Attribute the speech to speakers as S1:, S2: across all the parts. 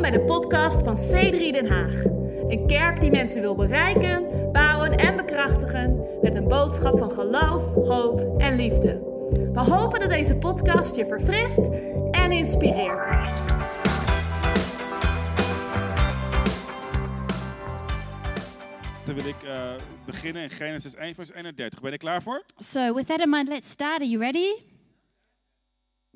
S1: bij de podcast van C3 Den Haag. Een kerk die mensen wil bereiken, bouwen en bekrachtigen met een boodschap van geloof, hoop en liefde. We hopen dat deze podcast je verfrist en inspireert.
S2: Dan wil ik eh, beginnen in Genesis 1, vers 31. Ben je er klaar voor?
S3: So, with that in mind, let's start. Are you ready?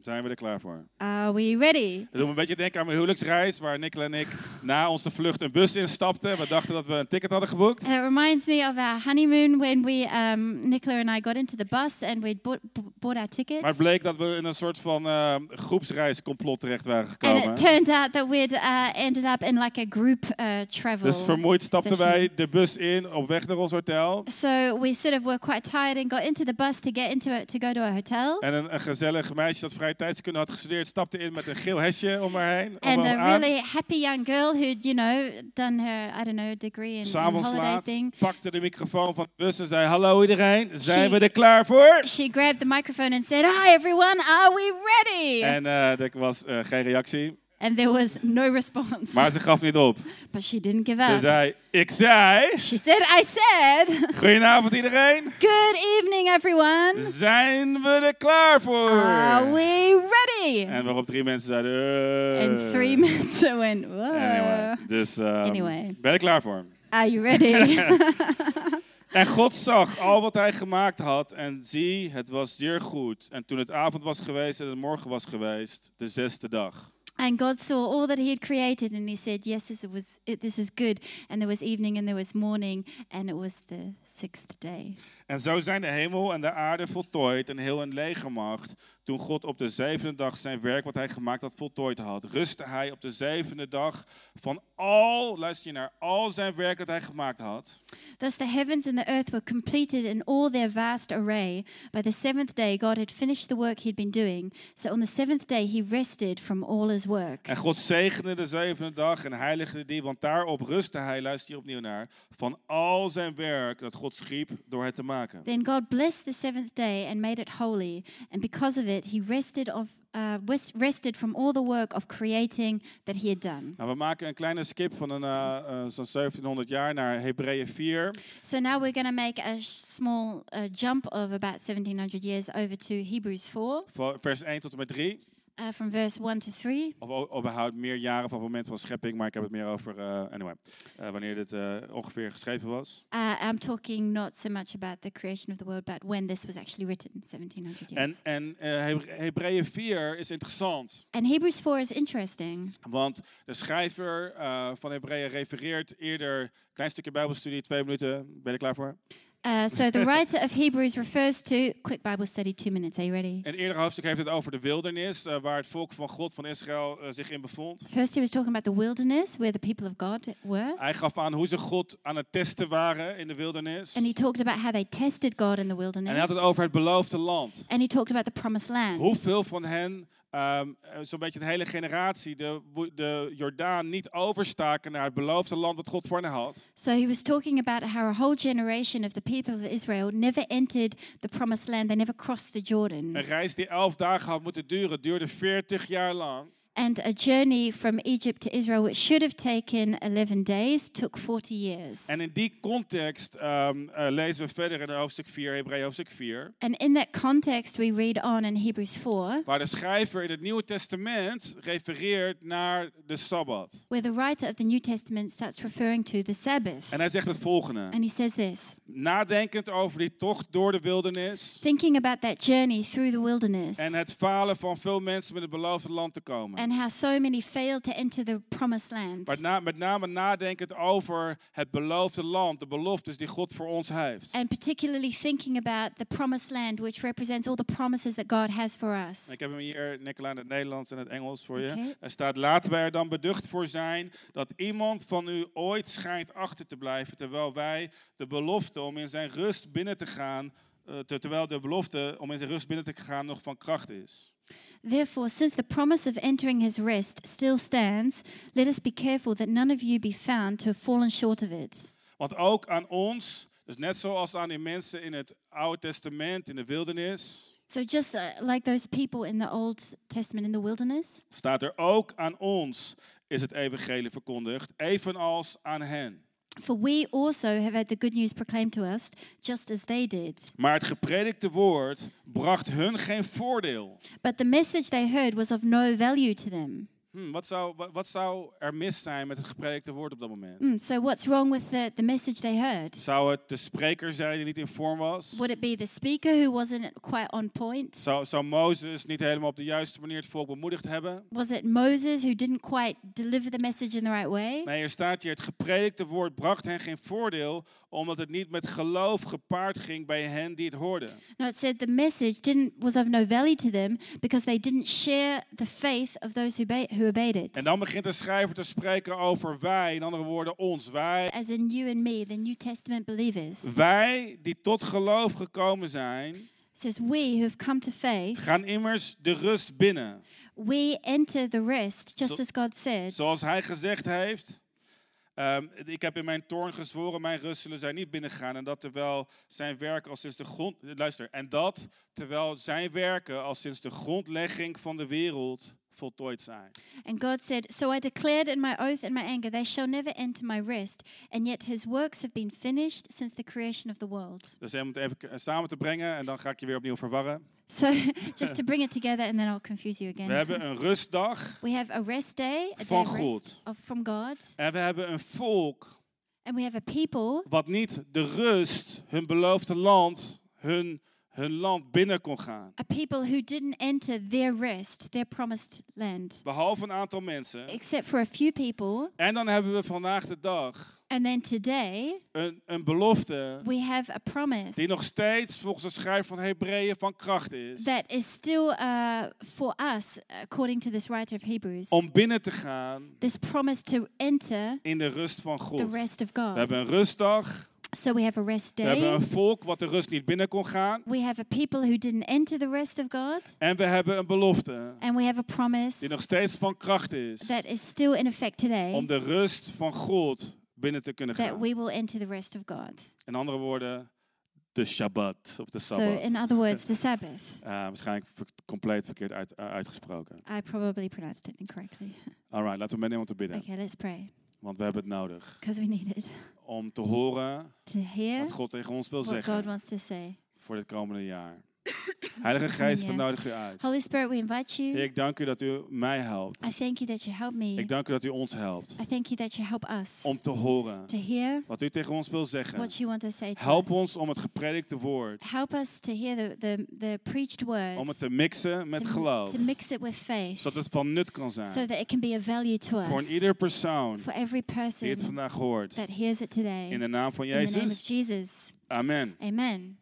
S2: Zijn we er klaar voor?
S3: Are we ready?
S2: Dat doet me een beetje denken aan mijn huwelijksreis, waar Nicola en ik na onze vlucht een bus instapten. We dachten dat we een ticket hadden geboekt.
S3: That reminds me of our honeymoon when we, um, Nicola and I, got into the bus and we'd bought, b- bought our tickets.
S2: Maar het bleek dat we in een soort van eh, groepsreiscomplot terecht waren
S3: and it
S2: gekomen.
S3: turned out that we'd uh, ended up in like a group uh, travel.
S2: Dus vermoeid stapten
S3: session.
S2: wij de bus in op weg naar ons hotel.
S3: So we sort of were quite tired and got into the bus to get into it to go to a hotel.
S2: En een, een gezellig meisje dat vrije tijdskunde had gestudeerd, stapte in met een geel hesje om haar heen. Om
S3: and
S2: hem
S3: a
S2: aan.
S3: really happy young girl who'd, you know, done her, I don't know, degree in, in
S2: S'avonds
S3: holiday
S2: laat
S3: thing.
S2: pakte de microfoon van de bus en zei: Hallo iedereen, zijn
S3: She-
S2: we er klaar voor?
S3: She grabbed the microphone and said, Hi everyone, are we ready?
S2: En eh, er was eh, geen reactie.
S3: And there was no response.
S2: Maar ze gaf niet op.
S3: But she didn't give
S2: Ze
S3: up.
S2: zei, ik zei,
S3: She said, I said,
S2: goedenavond iedereen.
S3: Good evening, everyone.
S2: Zijn we er klaar voor?
S3: Are Ah, we ready?
S2: En waarop drie mensen zeiden, eh.
S3: And three minutes I went, Whoa.
S2: Anyway, dus ehm,
S3: Anyway.
S2: ben ik klaar voor.
S3: Are you ready?
S2: En God zag al wat hij gemaakt had en zie, het was zeer goed. En toen het avond was geweest en het morgen was geweest, de zesde dag.
S3: and God saw all that He had created, and He said, Yes, this was it, this is good. And there was evening, and there was morning, and it was the sixth day.
S2: En zo zijn de hemel en de aarde voltooid en heel hun legermacht. Toen God op de zevende dag zijn werk wat hij gemaakt had voltooid had, rustte hij op de zevende dag van al, luister je naar, al zijn werk dat hij gemaakt had.
S3: Thus the heavens and the earth were completed in all their vast array. By the seventh day, God had finished the work He'd been doing. So on the seventh day, He rested from all His work.
S2: En God zegende de zevende dag en heiligde die, want daarop rustte hij, luister hier opnieuw naar, van al zijn werk dat God schiep door het te maken.
S3: Then God blessed the seventh day and made it holy, and because of it, He rested of uh, wes- rested from all the work of creating that He had done.
S2: Nou, we maken een kleine skip van een, eh, eh, zo'n 1700 jaar naar Hebreeën 4.
S3: So now we're going to make a sh- small uh, jump of about 1700 years over to Hebrews 4,
S2: van vers 1 tot en met 3.
S3: uh, from verse 1 to 3.
S2: Of o- überhaupt meer jaren van het moment van schepping, maar ik heb het meer over, eh, anyway, eh, wanneer dit eh, ongeveer geschreven was.
S3: Uh, I'm talking not so much about the creation of the world, but when this was actually written, 1700 years.
S2: En,
S3: And,
S2: en eh Hebreeën 4 is interessant,
S3: Hebrews 4 is interesting
S2: want de schrijver eh, van Hebreeën refereert eerder, klein stukje bijbelstudie, twee minuten, ben je er klaar voor?
S3: Uh, so the writer of Hebrews refers to quick Bible study, two minutes. Are you ready?
S2: Een eerder hoofdstuk heeft het over de wildernis, eh, waar het volk van God, van Israël, eh, zich in bevond.
S3: First, he was talking about the wilderness where the people of God were.
S2: Hij gaf aan hoe ze God aan het testen waren in de wildernis.
S3: And
S2: En
S3: he talked about how they tested God in the
S2: hij had
S3: wilderness.
S2: het over het beloofde land.
S3: And he talked about the promised land.
S2: Hoeveel van hen, ehm, eh, zo'n beetje de hele generatie, de, wo- de Jordaan niet overstaken naar het beloofde land wat God voor hen had.
S3: So he was talking about how a whole generation of the people of Israel never entered the promised land, they never crossed the
S2: Een
S3: Jordan.
S2: reis die elf dagen had moeten duren, duurde 40 jaar lang.
S3: And a journey from Egypt to Israel, which should have taken 11 days, took 40 years.
S2: En in die context ehm, eh, lezen we verder in hoofdstuk 4, Hebreeën hoofdstuk 4.
S3: And in that context, we read on in Hebrews 4,
S2: Waar de schrijver in het Nieuwe Testament refereert naar de Sabbat.
S3: where the writer of the New Testament starts referring to the Sabbath.
S2: En hij zegt het volgende.
S3: And he says this
S2: Nadenkend over die tocht door de wildernis.
S3: thinking about that journey through the wilderness.
S2: En het falen van veel mensen met het beloofde land te komen.
S3: and how so many failed to enter the promised land.
S2: Maar na- met name nadenkend over het beloofde land, de beloftes die God voor ons heeft.
S3: And particularly thinking about the promised land, which represents all the promises that God has for us.
S2: Ik heb hem hier, Nicola, in het Nederlands en het Engels voor je.
S3: Oké.
S2: Er staat, laten wij er dan beducht voor zijn dat iemand van u ooit schijnt achter te blijven, terwijl wij de belofte om in zijn rust binnen te gaan, eh, ter- terwijl de belofte om in zijn rust binnen te gaan nog van kracht is.
S3: Therefore, since the promise of entering his rest still stands, let us be careful that none of you be found to have fallen short of it.
S2: Want ook aan ons, dus net zoals aan die mensen in het Oude Testament, in de wildernis,
S3: So, just uh, like those people in the Old Testament in the wilderness,
S2: staat er ook aan ons is het evangelie verkondigd, evenals aan hen.
S3: For we also have had the good news proclaimed to us, just as they did.
S2: Maar het gepredikte woord bracht hun geen voordeel.
S3: But the message they heard was of no value to them.
S2: Hm, wat, zou, wa- wat zou er mis zijn met het gepredikte woord op dat moment?
S3: Mm, so, what's wrong with the, the message they heard?
S2: Zou het de spreker zijn die niet in vorm was?
S3: Would it be the speaker who wasn't quite on point?
S2: Zou, zou Mozes niet helemaal op de juiste manier het volk bemoedigd hebben?
S3: Was it Moses who didn't quite deliver the message in the right way?
S2: Nee, er staat hier, het gepredikte woord bracht hen geen voordeel, omdat het niet met geloof gepaard ging bij hen die het hoorden.
S3: No, it said the message didn't was of no value to them because they didn't share the faith of those who, ba- who obeyed it.
S2: En dan begint de schrijver te spreken over wij, in andere woorden ons, wij.
S3: As in you and me, the New Testament believers,
S2: Mm.
S3: it
S2: Wij die tot geloof gekomen zijn,
S3: says we who have come to faith,
S2: gaan immers de rust binnen.
S3: we enter the rest, just
S2: Zo-
S3: as God said.
S2: Zoals hij gezegd heeft. ehm, ik heb in mijn toorn gezworen, mijn rust zullen zij niet binnengaan. En dat terwijl zijn werken al sinds de grond. Luister, en dat terwijl zijn werken al sinds de grondlegging van de wereld voltooid zijn.
S3: And God said, So I declared in my oath and my anger, they shall never enter my rest. And yet his works have been finished since the creation of the world.
S2: Dus om het even k- samen te brengen en dan ga ik je weer opnieuw verwarren.
S3: So just to bring it together and then I'll confuse you again.
S2: We hebben een rustdag
S3: we have a rest day, a day
S2: Van
S3: of
S2: God.
S3: rest of, from God,
S2: en we hebben een volk
S3: and we have a people
S2: wat niet de rust, hun beloofde land, hun, hun land binnen kon gaan.
S3: a people who didn't enter their rest, their promised land,
S2: Behalve een aantal mensen.
S3: except for a few people.
S2: En dan hebben we vandaag de dag
S3: And then today
S2: een, een belofte
S3: we have a promise
S2: die nog steeds volgens de schrijver van Hebreeën van kracht is.
S3: that is still uh, for us, according to this writer of Hebrews.
S2: Om binnen te gaan
S3: This promise to enter
S2: in de rust van
S3: the
S2: God. We
S3: rest of God.
S2: hebben een rustdag.
S3: So we have a rest
S2: We hebben
S3: day.
S2: een volk wat de rust niet binnen kon gaan.
S3: We have a people who didn't enter the rest of God,
S2: En we hebben een belofte
S3: and we have a promise
S2: die nog steeds van kracht is.
S3: that is still in effect today
S2: Om de rust van God binnen te kunnen
S3: that
S2: gaan.
S3: we will enter the rest of God.
S2: In andere woorden, de Shabbat of de
S3: So,
S2: Sabbat.
S3: in other words, the Sabbath.
S2: Eh, waarschijnlijk ver- compleet verkeerd uit, eh, uitgesproken.
S3: I probably pronounced it incorrectly.
S2: Alright, laten we meenemen om te bidden.
S3: Okay, let's pray
S2: Want we hebben het nodig
S3: because we need it
S2: om te horen
S3: to hear
S2: wat God tegen ons wil
S3: what God
S2: zeggen
S3: wants to say.
S2: voor dit komende jaar. Heilige Geest, we
S3: Ja.
S2: nodigen u uit.
S3: Holy Spirit, we invite
S2: Heer,
S3: you.
S2: ik dank u dat u mij helpt.
S3: I thank you that you help me.
S2: Ik dank u dat u ons helpt
S3: I thank you that you help us
S2: om te horen
S3: to hear
S2: wat u tegen ons wil zeggen.
S3: what you want to say to
S2: Help
S3: us.
S2: ons om het gepredikte woord,
S3: Help us to hear the, the, the preached
S2: om het
S3: words,
S2: te mixen met
S3: to,
S2: geloof,
S3: to mix it with faith,
S2: zodat het van nut kan
S3: so
S2: zijn
S3: that it can be of value to
S2: voor
S3: us,
S2: een ieder persoon
S3: for every
S2: die het
S3: person
S2: vandaag hoort.
S3: that hears it today.
S2: In de naam van
S3: In the name of
S2: Jezus.
S3: Jesus.
S2: Amen.
S3: Amen.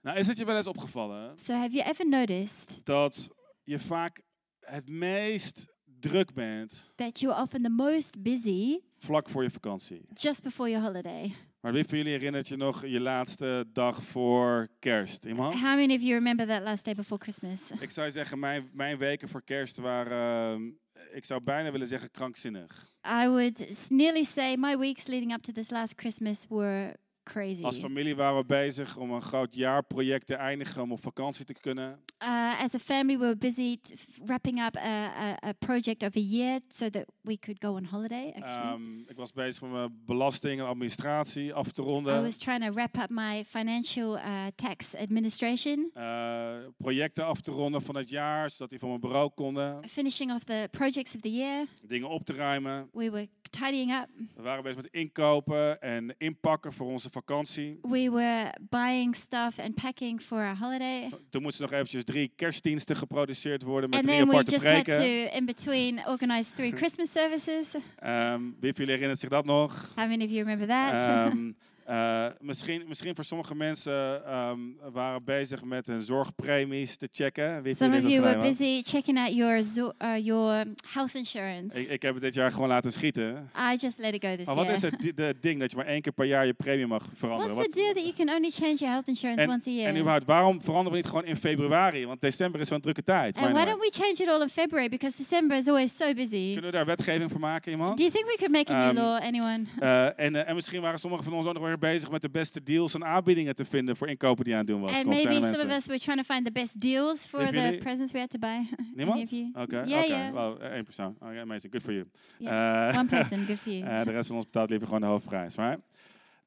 S2: Nou, is het je wel eens opgevallen
S3: So, have you ever noticed
S2: dat je vaak het meest druk bent
S3: that you're often the most busy
S2: vlak voor je vakantie?
S3: just before your holiday?
S2: Maar wie van jullie herinnert je nog je laatste dag voor kerst? Iemand?
S3: How many of you remember that last day before Christmas?
S2: Ik zou zeggen, mijn, mijn weken voor kerst waren, eh, ik zou bijna willen zeggen, krankzinnig.
S3: I would s- nearly say my weeks leading up to this last Christmas were crazy.
S2: Als familie waren we bezig om een groot jaarproject te eindigen om op vakantie te kunnen.
S3: Uh, as a family, we were busy t- f- wrapping up a, a, a project of a year so that we could go on holiday. Actually,
S2: Ehm, ik was bezig met mijn belasting en administratie af te
S3: I
S2: ronden.
S3: was trying to wrap up my financial uh, tax administration,
S2: eh, projecten af te ronden van het jaar, zodat die van mijn bureau konden.
S3: finishing off the projects of the year.
S2: Dingen op te ruimen.
S3: We were tidying up.
S2: We waren bezig met inkopen en inpakken voor onze vakantie.
S3: We were buying stuff and packing for our holiday.
S2: Toen moesten nog eventjes drie kerstdiensten geproduceerd worden met
S3: And
S2: drie
S3: then we
S2: aparte
S3: just had
S2: preken.
S3: to, in between, organize three Christmas services.
S2: Ehm, wie van jullie herinnert zich dat nog?
S3: How many of you remember that?
S2: Ehm, eh, misschien, misschien voor sommige mensen ehm, waren bezig met hun zorgpremies te checken. Wie van
S3: Some of
S2: jullie
S3: you
S2: dat
S3: were
S2: gedaan?
S3: busy checking out your zo- uh, your um, health insurance.
S2: Ik, ik heb het dit jaar gewoon laten schieten.
S3: I just let it go this
S2: Maar wat
S3: year.
S2: is het di- de ding dat je maar één keer per jaar je premie mag veranderen?
S3: What's the
S2: Wat-
S3: deal that you can only change your health insurance
S2: En,
S3: once a year?
S2: en überhaupt, waarom veranderen we niet gewoon in februari? Want december is zo'n drukke tijd.
S3: and
S2: maar
S3: why
S2: anyway.
S3: don't we change it all in February because December is always so busy?
S2: Kunnen we daar wetgeving voor maken, iemand?
S3: Do you think we could make a new
S2: Ehm,
S3: law, anyone?
S2: Eh, en, eh, en misschien waren sommigen van ons ook nog wel er bezig met de beste deals en aanbiedingen te vinden voor inkopen die je aan het doen was.
S3: And
S2: Kom, zijn
S3: maybe
S2: er
S3: some of
S2: mensen?
S3: us were trying to find the best deals for
S2: If
S3: the
S2: really-
S3: presents we had to buy. Any
S2: Niemand?
S3: of you?
S2: Oké,
S3: Yeah,
S2: oké.
S3: yeah.
S2: Wow, eh, één persoon. Oké, amazing. Good for you.
S3: Yeah.
S2: Eh,
S3: One person, good for you.
S2: eh, de rest van ons betaalt liever gewoon de hoofdprijs, right?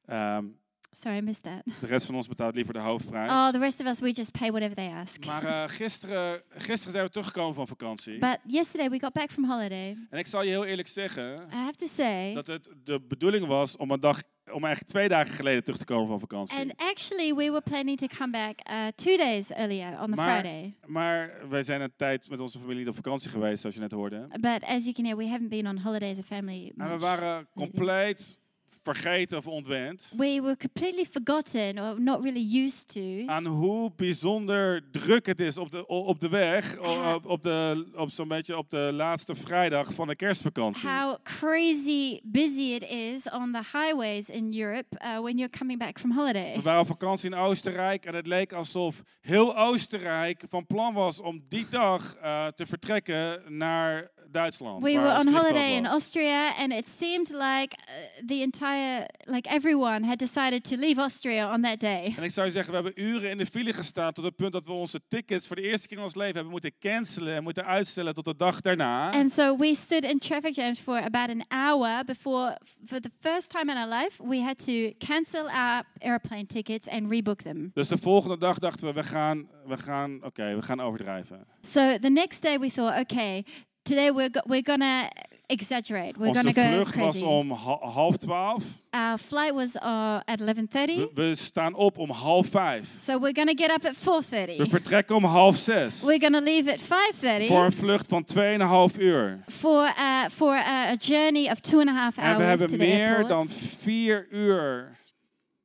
S2: Ehm,
S3: Sorry, I missed that.
S2: de rest van ons betaalt liever de hoofdprijs.
S3: Oh, the rest of us, we just pay whatever they ask.
S2: Maar eh, gisteren, gisteren zijn we teruggekomen van vakantie.
S3: But yesterday we got back from holiday.
S2: en ik zal je heel eerlijk zeggen
S3: I have to say,
S2: dat het de bedoeling was om een dag, om eigenlijk twee dagen geleden terug te komen van vakantie.
S3: and actually we were planning to come back uh, two days earlier on the
S2: Maar-
S3: Friday.
S2: maar wij zijn een tijd met onze familie op vakantie geweest, zoals je net hoorde.
S3: But as you can hear, we haven't been on holiday as a family
S2: En we
S3: much.
S2: waren compleet vergeten of ontwend
S3: We were completely forgotten or not really used to
S2: aan hoe bijzonder druk het is op de, o- op de weg, o- op, op, de- op zo'n beetje op de laatste vrijdag van de kerstvakantie.
S3: how crazy busy it is on the highways in Europe uh, when you're coming back from holiday.
S2: We waren op vakantie in Oostenrijk en het leek alsof heel Oostenrijk van plan was om die dag eh, te vertrekken naar Duitsland.
S3: We
S2: waar ons
S3: were on
S2: vliegveld
S3: holiday in
S2: was.
S3: Austria, and it seemed like uh, the entire, like everyone had decided to leave Austria on that day.
S2: En ik zou je zeggen, we hebben uren in de file gestaan tot het punt dat we onze tickets voor de eerste keer in ons leven hebben moeten cancelen en moeten uitstellen tot de dag daarna.
S3: And so we stood in traffic jams for about an hour before, for the first time in our life, we had to cancel our airplane tickets and rebook them.
S2: Dus de volgende dag dachten we, we gaan, we gaan, oké, we gaan overdrijven.
S3: So the next day we thought, okay, today we're, go- we're gonna exaggerate. We're
S2: Onze
S3: gonna go
S2: vlucht was
S3: crazy.
S2: om ha- half twaalf.
S3: Our flight was uh, at 11:30,
S2: We, we staan op om half vijf.
S3: so we're gonna get up at
S2: We
S3: 4:30.
S2: vertrekken om half zes.
S3: We're gonna leave at
S2: Voor
S3: 5:30
S2: een vlucht van 2,5 uur.
S3: for uh, for uh, a journey of two and a half
S2: En we
S3: hours
S2: hebben
S3: to the
S2: meer dan
S3: airport.
S2: vier uur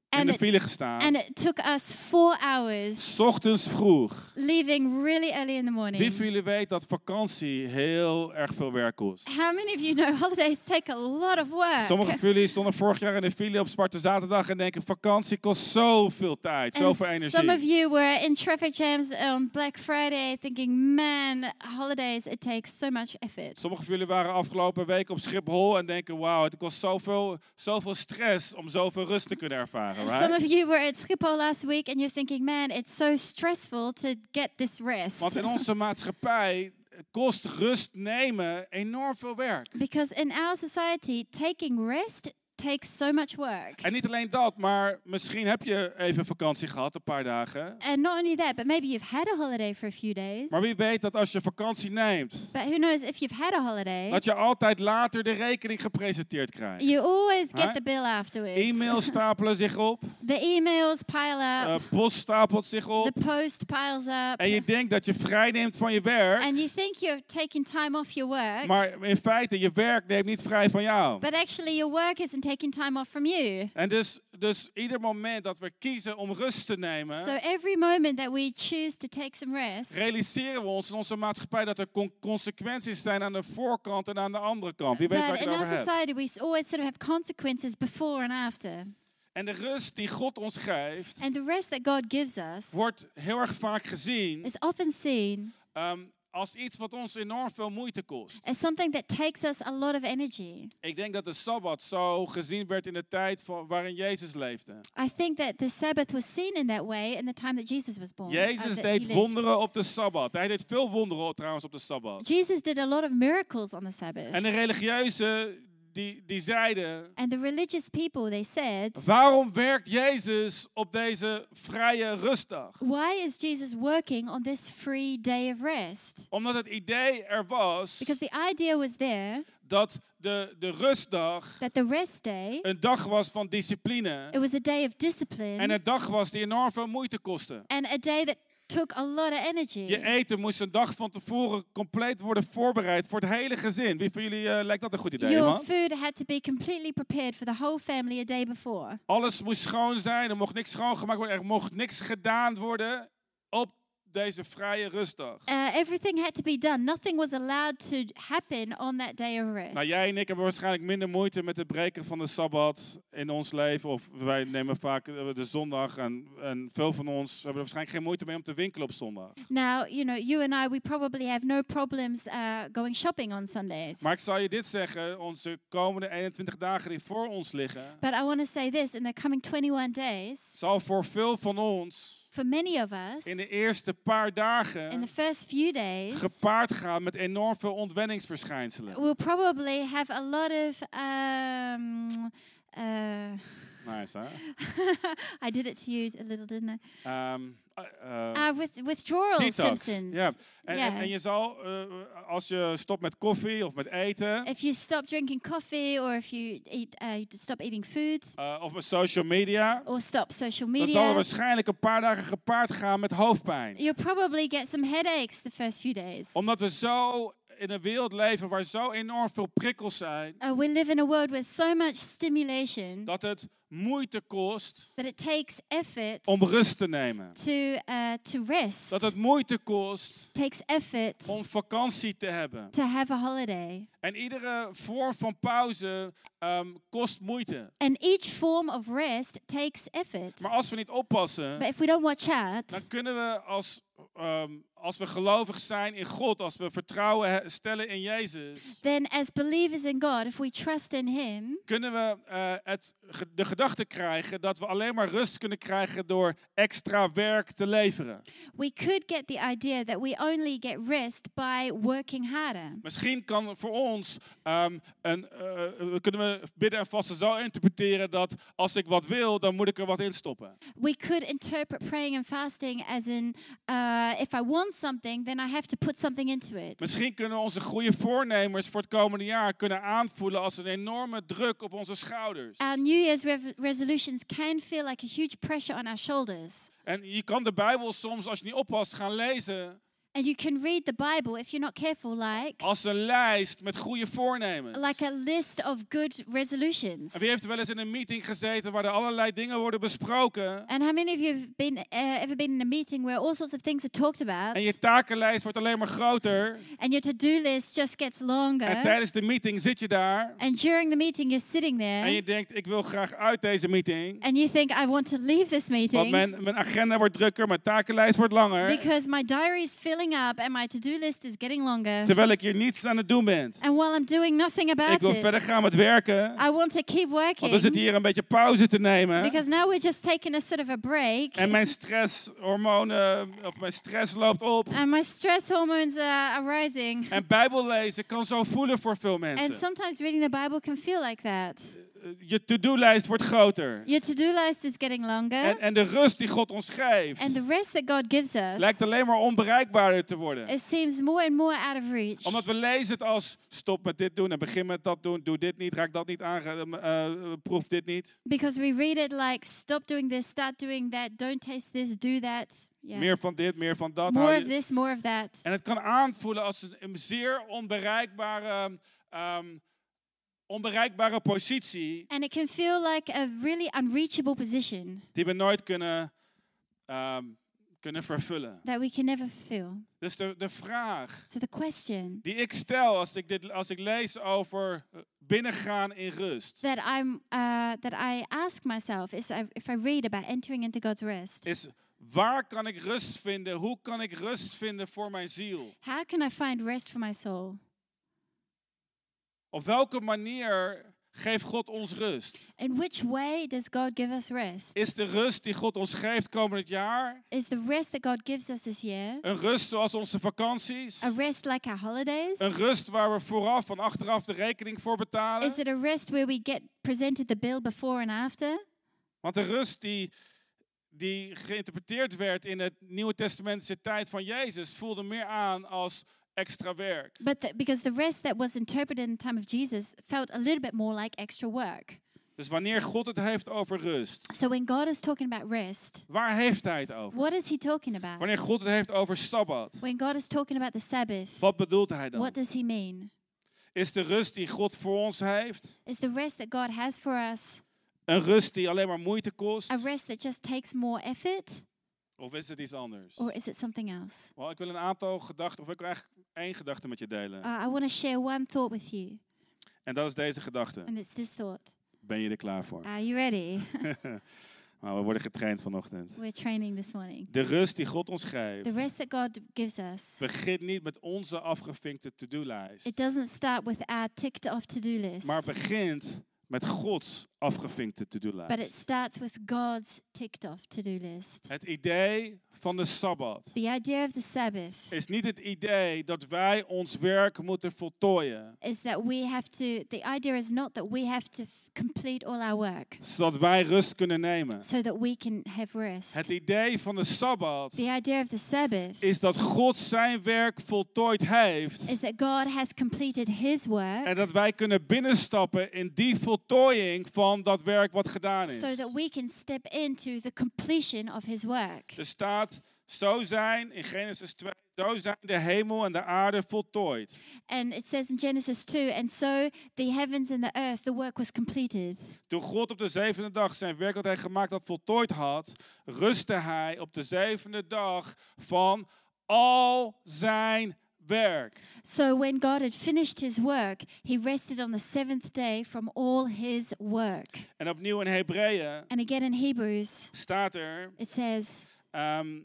S2: in
S3: And
S2: de
S3: it,
S2: file gestaan.
S3: and it took us four hours,
S2: 's Ochtends vroeg.
S3: leaving really early in the morning.
S2: Wie van jullie weet dat vakantie heel erg veel werk kost?
S3: How many of you know holidays take a lot of work?
S2: Sommigen van jullie stonden vorig jaar in de file op Zwarte Zaterdag en denken vakantie kost zoveel tijd,
S3: And
S2: zoveel energie.
S3: some of you were in traffic jams on Black Friday thinking, man, holidays, it takes so much effort.
S2: Sommigen van jullie waren afgelopen week op Schiphol en denken, wauw, het kost zoveel, zoveel stress om zoveel rust te kunnen ervaren.
S3: Some
S2: Right?
S3: of you were at Schiphol last week and you're thinking, man, it's so stressful to get this rest.
S2: Want in onze maatschappij kost rust nemen enorm veel werk.
S3: Because in our society, taking rest takes so much work.
S2: En niet alleen dat, maar misschien heb je even vakantie gehad, een paar dagen.
S3: And not only that, but maybe you've had a holiday for a few days.
S2: Maar wie weet dat als je vakantie neemt,
S3: But who knows if you've had a holiday,
S2: dat je altijd later de rekening gepresenteerd krijgt.
S3: you always get
S2: Right?
S3: the bill afterwards.
S2: E-mails stapelen zich op,
S3: The emails pile up.
S2: eh, post stapelt zich op.
S3: The post piles up.
S2: En je denkt dat je vrij neemt van je werk,
S3: and you think you're taking time off your work,
S2: maar in feite, je werk neemt niet vrij van jou.
S3: but actually your work isn't taking time off from you.
S2: En dus, dus ieder moment dat we kiezen om rust te
S3: So
S2: nemen,
S3: every moment that we choose to take some rest,
S2: realiseren we ons in onze maatschappij dat er con- consequenties zijn aan de voorkant en aan de andere kant. Wie weet waar ik
S3: but
S2: het
S3: in our
S2: over heb.
S3: society we s- always sort of have consequences before and after.
S2: En de rust die God ons geeft,
S3: And the rest that God gives us
S2: wordt heel erg vaak gezien
S3: is often seen
S2: ehm, als iets wat ons enorm veel moeite kost.
S3: as something that takes us a lot of energy.
S2: Ik denk dat de Sabbat zo gezien werd in de tijd van, waarin Jezus leefde.
S3: I think that the Sabbath was seen in that way in the time that Jesus was born. uh,
S2: Jezus
S3: that he
S2: deed
S3: lived.
S2: wonderen op de Sabbat. Hij deed veel wonderen trouwens op de Sabbat.
S3: Jesus did a lot of miracles on the Sabbath.
S2: En de religieuzen die, die zeiden,
S3: and the religious people, they said,
S2: waarom werkt Jezus op deze vrije rustdag?
S3: Why is Jesus working on this free day of rest?
S2: Omdat het idee er was
S3: Because the idea was there
S2: dat de, de rustdag
S3: that the rest day,
S2: een dag was van
S3: it
S2: discipline.
S3: was a day of
S2: En
S3: discipline
S2: een dag was die enorm veel moeite kostte.
S3: and a day that took a lot of
S2: Je
S3: energy.
S2: eten moest een dag van tevoren compleet worden voorbereid voor het hele gezin. Wie van jullie eh, lijkt dat een goed idee,
S3: Your
S2: man?
S3: food had to be completely prepared for the whole family a day before.
S2: Alles moest schoon zijn, er mocht niks schoongemaakt worden, er mocht niks gedaan worden op deze vrije rustdag.
S3: Uh, everything had to be done. Nothing was allowed to happen on that day of rest.
S2: Nou, jij en ik hebben waarschijnlijk minder moeite met het breken van de Sabbat in ons leven. Of wij nemen vaak eh, de zondag en, en veel van ons hebben er waarschijnlijk geen moeite mee om te winkelen op zondag.
S3: Now, you know, you and I, we probably have no problems uh, going shopping on Sundays.
S2: Maar ik zal je dit zeggen, onze komende 21 dagen die voor ons liggen,
S3: But I want to say this in the coming 21 days,
S2: zal voor veel van ons
S3: for many of us,
S2: in de eerste paar
S3: in the
S2: dagen
S3: first few days,
S2: gepaard gaan met enorm veel ontwenningsverschijnselen.
S3: we'll probably have a lot of. Um, uh,
S2: Nice, hè?
S3: I did it to you a little, didn't I?
S2: Ehm, eh, eh,
S3: Uh, with withdrawal
S2: detox.
S3: symptoms.
S2: Ja. En, en,
S3: Ja.
S2: en je zal, eh, als je stopt met koffie of met eten,
S3: If you stop drinking coffee, or if you eat, uh, you stop eating food,
S2: eh, of met social media,
S3: or stop social
S2: dan zal er
S3: media,
S2: waarschijnlijk een paar dagen gepaard gaan met hoofdpijn.
S3: you'll probably get some headaches the first few days.
S2: Omdat we zo in een wereld leven waar zo enorm veel prikkels zijn,
S3: Uh, we live in a world with so much stimulation
S2: dat het moeite kost
S3: that it takes effort
S2: om rust te nemen.
S3: to uh, to rest.
S2: Dat het moeite kost
S3: takes effort
S2: om vakantie te hebben.
S3: to have a holiday.
S2: En iedere vorm van pauze ehm, kost moeite.
S3: And each form of rest takes effort.
S2: Maar als we niet oppassen,
S3: But if we don't watch out,
S2: dan kunnen we als, ehm, als we gelovig zijn in God, als we vertrouwen he- stellen in Jezus,
S3: then as believers in God, if we trust in Him,
S2: kunnen we eh, het, ge- de gedachte krijgen dat we alleen maar rust kunnen krijgen door extra werk te leveren.
S3: we could get the idea that we only get rest by working harder.
S2: Misschien kan voor ons, ehm, een, eh, we kunnen we bidden en vasten zo interpreteren dat als ik wat wil, dan moet ik er wat in stoppen.
S3: We could interpret praying and fasting as in, uh, if I want something, then I have to put something into it.
S2: Misschien kunnen onze goede voornemers voor het komende jaar kunnen aanvoelen als een enorme druk op onze schouders.
S3: Our New Year's rev- resolutions can feel like a huge pressure on our shoulders.
S2: En je kan de Bijbel soms, als je niet oppast, gaan lezen
S3: And you can read the Bible, if you're not careful, like
S2: als een lijst met goede voornemens.
S3: like a list of good resolutions.
S2: En wie heeft er wel eens in een meeting gezeten waar er allerlei dingen worden besproken
S3: And how many of you have been uh, ever been in a meeting where all sorts of things are talked about,
S2: en je takenlijst wordt alleen maar groter
S3: and your to-do list just gets longer?
S2: en tijdens de meeting zit je daar
S3: And during the meeting, you're sitting
S2: en
S3: there,
S2: je denkt ik wil graag uit deze meeting,
S3: and you think, "I want to leave this
S2: want
S3: meeting
S2: mijn, mijn agenda wordt drukker, mijn takenlijst wordt langer,
S3: because my diary is filling up and my to-do list is getting longer."
S2: terwijl ik hier niets aan het doen ben.
S3: And while I'm doing nothing
S2: Ik
S3: about
S2: wil verder
S3: it,
S2: gaan met werken,
S3: I want to keep
S2: want we zitten
S3: working
S2: hier een beetje pauze te nemen.
S3: because now we're just taking a sort of a break,
S2: En mijn stresshormonen, of mijn stress loopt op.
S3: and my stress hormones are, are rising.
S2: En Bijbel lezen kan zo voelen voor veel
S3: And
S2: mensen. Eh,
S3: sometimes reading the Bible can feel like that.
S2: Je to-do-lijst wordt groter.
S3: Your to-do list is getting longer,
S2: En, en de rust die God ons
S3: and
S2: geeft,
S3: the rest that God gives us
S2: lijkt alleen maar onbereikbaarder te worden.
S3: it seems more and more out of reach.
S2: Omdat we lezen het als stop met dit doen en begin met dat doen. Doe dit niet, raak dat niet aan, eh, eh, proef dit niet.
S3: Because we read it like stop doing this, start doing that, don't taste this, do that. Yeah.
S2: Meer van dit, meer van dat. hou
S3: More
S2: je-
S3: of this, more of that.
S2: En het kan aanvoelen als een, een zeer onbereikbare, ehm, onbereikbare positie
S3: And it can feel like a really unreachable position
S2: die we nooit kunnen, ehm, kunnen vervullen.
S3: that we can never fulfill.
S2: Dus de, de vraag
S3: So the question
S2: die ik stel als ik, dit, als ik lees over eh, binnengaan in rust,
S3: that I'm uh, that I ask myself is I- if I read about entering into God's rest,
S2: is waar kan ik rust vinden? Hoe kan ik rust vinden voor mijn ziel?
S3: how can I find rest for my soul?
S2: Op welke manier geeft God ons rust?
S3: In which way does God give us rest?
S2: Is de rust die God ons geeft komend jaar
S3: Is the rest that God gives us this year
S2: een rust zoals onze vakanties?
S3: a rest like our holidays?
S2: Een rust waar we vooraf en achteraf de rekening voor betalen.
S3: Is it a rest where we get presented the bill before and after?
S2: Want de rust die, die geïnterpreteerd werd in het Nieuwe Testamentse tijd van Jezus voelde meer aan als extra werk.
S3: But the, because the rest that was interpreted in the time of Jesus felt a little bit more like extra work.
S2: Dus wanneer God het heeft over rust,
S3: So when God is talking about rest,
S2: waar heeft hij het over?
S3: what is he talking about?
S2: Wanneer God het heeft over Sabbat,
S3: When God is talking about the Sabbath,
S2: wat bedoelt hij dan?
S3: what does he mean?
S2: Is de rust die God voor ons heeft
S3: Is the rest that God has for us
S2: een rust die alleen maar moeite kost?
S3: a rest that just takes more effort?
S2: Of is het iets anders?
S3: or is it something else?
S2: Wel, ik wil een aantal gedachten, of ik wil eigenlijk één gedachte met je delen.
S3: Uh, I want to share one thought with you,
S2: En dat is deze gedachte.
S3: and it's this thought.
S2: Ben je er klaar voor?
S3: Are you ready?
S2: Nou, we worden getraind vanochtend.
S3: We're training this morning.
S2: De rust die God ons
S3: The
S2: geeft,
S3: rest that God gives us,
S2: begint niet met onze afgevinkte
S3: it
S2: to-do-lijst.
S3: doesn't start with our ticked off to do list,
S2: Maar begint met Gods afgevinkte
S3: but it
S2: to-do-lijst.
S3: starts with God's ticked off to do list.
S2: Het idee van de Sabbat
S3: The idea of the Sabbath
S2: is niet het idee dat wij ons werk moeten voltooien.
S3: is that we have to, the idea is not that we have to f- complete all our work
S2: Zodat wij rust kunnen nemen.
S3: so that we can have rest.
S2: Het idee van de Sabbat
S3: The idea of the Sabbath
S2: is dat God zijn werk voltooid heeft.
S3: is that God has completed His work
S2: En dat wij kunnen binnenstappen in die voltooiing van dat werk wat gedaan
S3: so
S2: is.
S3: that we can step into the completion of His work.
S2: Er staat, zo zijn, in Genesis 2, zo zijn de hemel en de aarde voltooid.
S3: And it says in Genesis 2 And so the heavens and the earth, the work was completed.
S2: Toen God op de zevende dag zijn werk dat hij gemaakt had voltooid had, rustte hij op de zevende dag van al zijn werk.
S3: So when God had finished His work, He rested on the seventh day from all His work.
S2: En opnieuw in Hebreeën
S3: And again in Hebrews,
S2: staat er
S3: it says,
S2: ehm,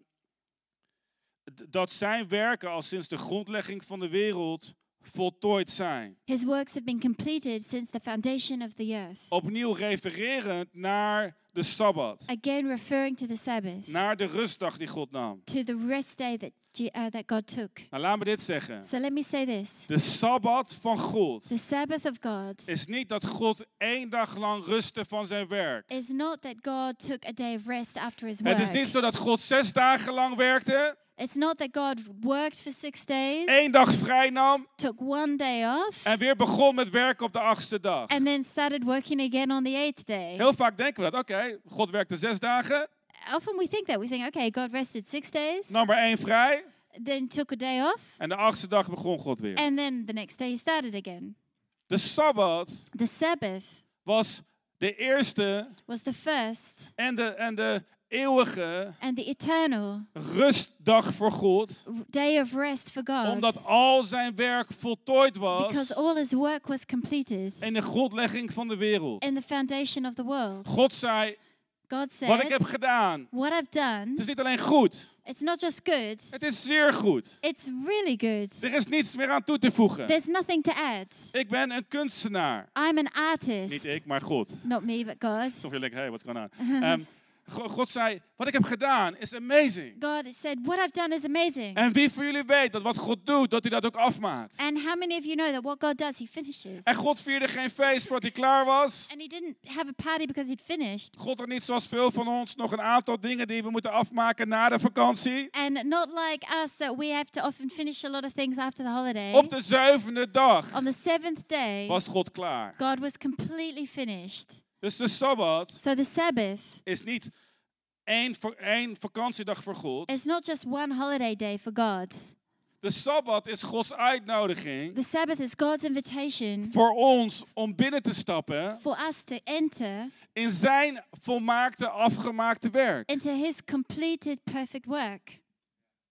S2: d- dat zijn werken al sinds de grondlegging van de wereld voltooid zijn.
S3: His works have been completed since the foundation of the earth.
S2: Opnieuw refererend naar de Sabbat,
S3: Again, referring to the Sabbath,
S2: naar de rustdag die God nam.
S3: to the rest day that, Je- uh, that God took.
S2: Nou, laat me dit zeggen.
S3: So let me say this
S2: De Sabbat van God
S3: the Sabbath of God
S2: is niet dat God één dag lang rustte van zijn werk.
S3: is not that God took a day of rest after His work.
S2: Het is niet zo dat God zes dagen lang werkte,
S3: It's not that God worked for six days,
S2: één dag vrij nam
S3: took one day off,
S2: en weer begon met werken op de achtste dag.
S3: and then started working again on the eighth day.
S2: Heel vaak denken we dat, oké, God werkte zes dagen,
S3: Often we think that. We think, okay, God rested six days,
S2: nam er één vrij
S3: then took a day off,
S2: en de achtste dag begon God weer.
S3: and then the next day he started again.
S2: De Sabbat
S3: The Sabbath
S2: was de eerste
S3: was the first
S2: en de, en de eeuwige
S3: and the eternal
S2: rustdag voor God,
S3: r- day of rest for God
S2: omdat al zijn werk voltooid
S3: because
S2: was
S3: all his work was completed
S2: in de grondlegging van de wereld.
S3: in the foundation of the world.
S2: God zei,
S3: God
S2: wat ik
S3: said,
S2: heb gedaan,
S3: What I've done,
S2: het is niet alleen goed,
S3: it's not just good,
S2: het is zeer goed.
S3: it's really good.
S2: Er is niets meer aan toe te voegen.
S3: There's nothing to add.
S2: Ik ben een kunstenaar.
S3: I'm an
S2: Niet
S3: artist.
S2: ik, maar God.
S3: Not me, but God.
S2: Toch wil ik, hey, what's going on? Ehm, Go- God zei, wat ik heb gedaan is amazing.
S3: God said, What I've done is amazing.
S2: En wie voor jullie weet dat wat God doet, dat hij dat ook afmaakt.
S3: And how many of you know that what God does, He finishes?
S2: En God vierde geen feest voordat hij klaar was.
S3: And He didn't have a party because He'd finished.
S2: God had niet zoals veel van ons nog een aantal dingen die we moeten afmaken na de vakantie.
S3: And not like us that we have to often finish a lot of things after the holiday.
S2: Op de zevende dag
S3: On the seventh day,
S2: was God klaar.
S3: God was completely finished.
S2: Dus de Sabbat
S3: So the Sabbath
S2: is niet één, voor één vakantiedag voor God.
S3: is not just one holiday day for God,
S2: De Sabbat is Gods uitnodiging
S3: the Sabbath is God's invitation
S2: voor ons om binnen te stappen
S3: for us to enter
S2: in zijn volmaakte, afgemaakte werk.
S3: into His completed, perfect work.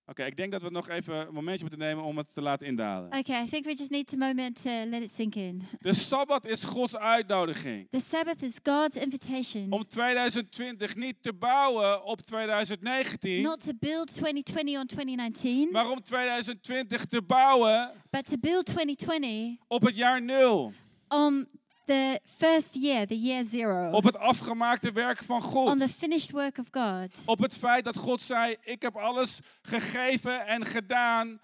S2: Oké, ik denk dat we nog even een momentje moeten nemen om het te laten indalen.
S3: Okay, I think we just need a moment to let it sink in.
S2: De Sabbat is Gods uitnodiging
S3: The Sabbath is God's invitation
S2: om 2020 niet te bouwen op 2019,
S3: not to build 2020 on 2019,
S2: maar om 2020 te bouwen
S3: but to build 2020
S2: op het jaar nul,
S3: on the first year, the year zero,
S2: op het afgemaakte werk van
S3: on the
S2: God.
S3: finished work of God,
S2: Op het feit dat God zei, ik heb alles gegeven en gedaan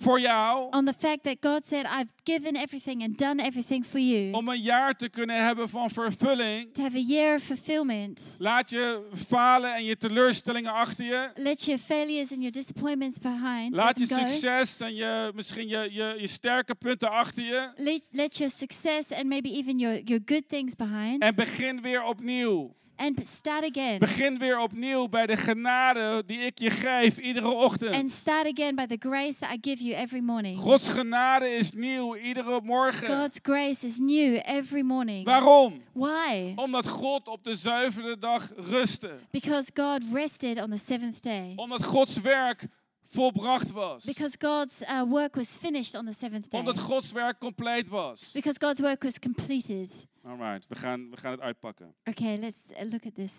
S2: voor jou
S3: on the fact that God said, I've given everything and done everything for you.
S2: om een jaar te kunnen hebben van vervulling.
S3: To have a year of fulfillment.
S2: Laat je falen en je teleurstellingen achter je.
S3: Let your failures and your disappointments behind.
S2: Laat je
S3: let, them go.
S2: succes en je, misschien je, je, je sterke punten achter je.
S3: Let, let your success and maybe even your, your good things behind.
S2: En begin weer opnieuw.
S3: and start again.
S2: Begin weer opnieuw bij de genade die ik je geef iedere
S3: And
S2: ochtend.
S3: start again by the grace that I give you every morning.
S2: Gods genade is nieuw iedere morgen.
S3: God's grace is new every morning.
S2: Waarom?
S3: Why?
S2: Omdat God op de zuivere dag rustte.
S3: Because God rested on the seventh day.
S2: Omdat Gods werk volbracht was.
S3: Because God's uh, work was finished on the seventh day.
S2: Omdat Gods werk compleet was.
S3: Because God's work was completed.
S2: Alright, we gaan, we gaan het uitpakken.
S3: Okay, let's uh, look at this.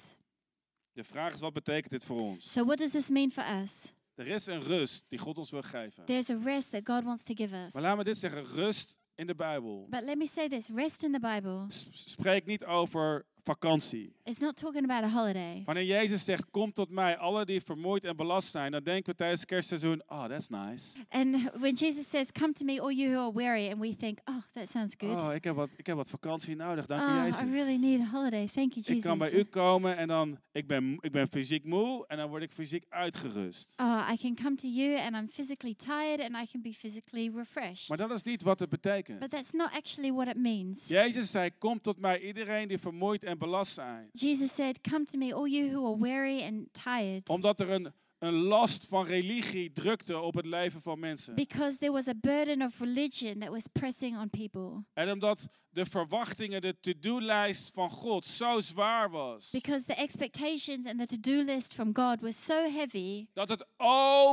S2: De vraag is, wat betekent dit voor ons?
S3: So, what does this mean for us?
S2: Er is een rust die God ons wil geven.
S3: There's a rest that God wants to give us.
S2: Maar laat me dit zeggen, rust in de Bijbel.
S3: But let me say this rest in the Bible.
S2: S- Spreek niet over vakantie.
S3: It's not talking about a holiday.
S2: Wanneer Jezus zegt, kom tot mij, alle die vermoeid en belast zijn, dan denken we tijdens kerstseizoen, oh, that's nice.
S3: And when Jesus says, Come to me, all you who are weary, and we think, Oh, that sounds good.
S2: Oh, ik heb wat, ik heb wat vakantie nodig, dank u
S3: Oh,
S2: Jezus.
S3: I really need a holiday. Thank you,
S2: Ik
S3: Jesus.
S2: kan bij u komen en dan, ik ben, ik ben fysiek moe en dan word ik fysiek uitgerust.
S3: Oh, I can come to you and I'm physically tired and I can be physically refreshed.
S2: Maar dat is niet wat het
S3: But
S2: betekent.
S3: that's not actually what it means.
S2: Jezus zei, kom tot mij, iedereen die vermoeid en belast zijn.
S3: Jesus said, Come to me, all you who are weary and tired.
S2: Omdat er een, een last van religie drukte op het leven van mensen.
S3: Because there was a burden of religion that was pressing on people.
S2: En omdat de verwachtingen, de to-do-lijst van God zo zwaar was.
S3: Because the expectations and the to do list from God was so heavy
S2: Dat het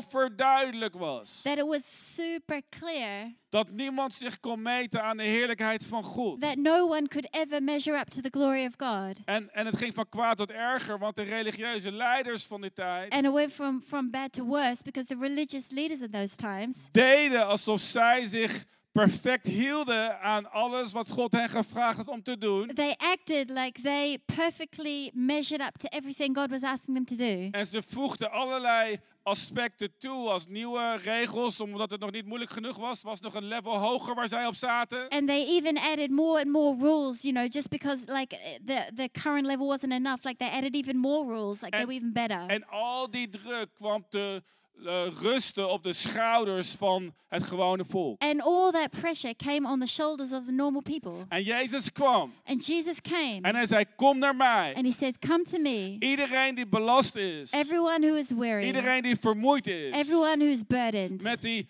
S2: overduidelijk was.
S3: that it was super clear
S2: Dat niemand zich kon meten aan de heerlijkheid van God.
S3: that no one could ever measure up to the glory of God.
S2: En, en het ging van kwaad tot erger, want de religieuze leiders van die
S3: And
S2: tijd
S3: it went from, from bad to worse because the religious leaders in those times
S2: deden alsof zij zich perfect hielden aan alles wat God hen gevraagd had om te doen.
S3: they acted like they perfectly measured up to everything God was asking them to do.
S2: En ze voegden allerlei aspecten toe als nieuwe regels, omdat het nog niet moeilijk genoeg was. Was nog een level hoger waar zij op zaten.
S3: And they even added more and more rules, you know, just because like eh, the the current level wasn't enough, like they added even more rules, like they
S2: And-
S3: were even better.
S2: En al die druk kwam te eh, rusten op de schouders van het gewone volk.
S3: And all that pressure came on the shoulders of the normal people.
S2: En Jezus kwam
S3: And Jesus came
S2: en hij zei: Kom naar mij.
S3: and he says, Come to me,
S2: Iedereen die belast is,
S3: everyone who is weary,
S2: iedereen die vermoeid is,
S3: everyone who is burdened
S2: met die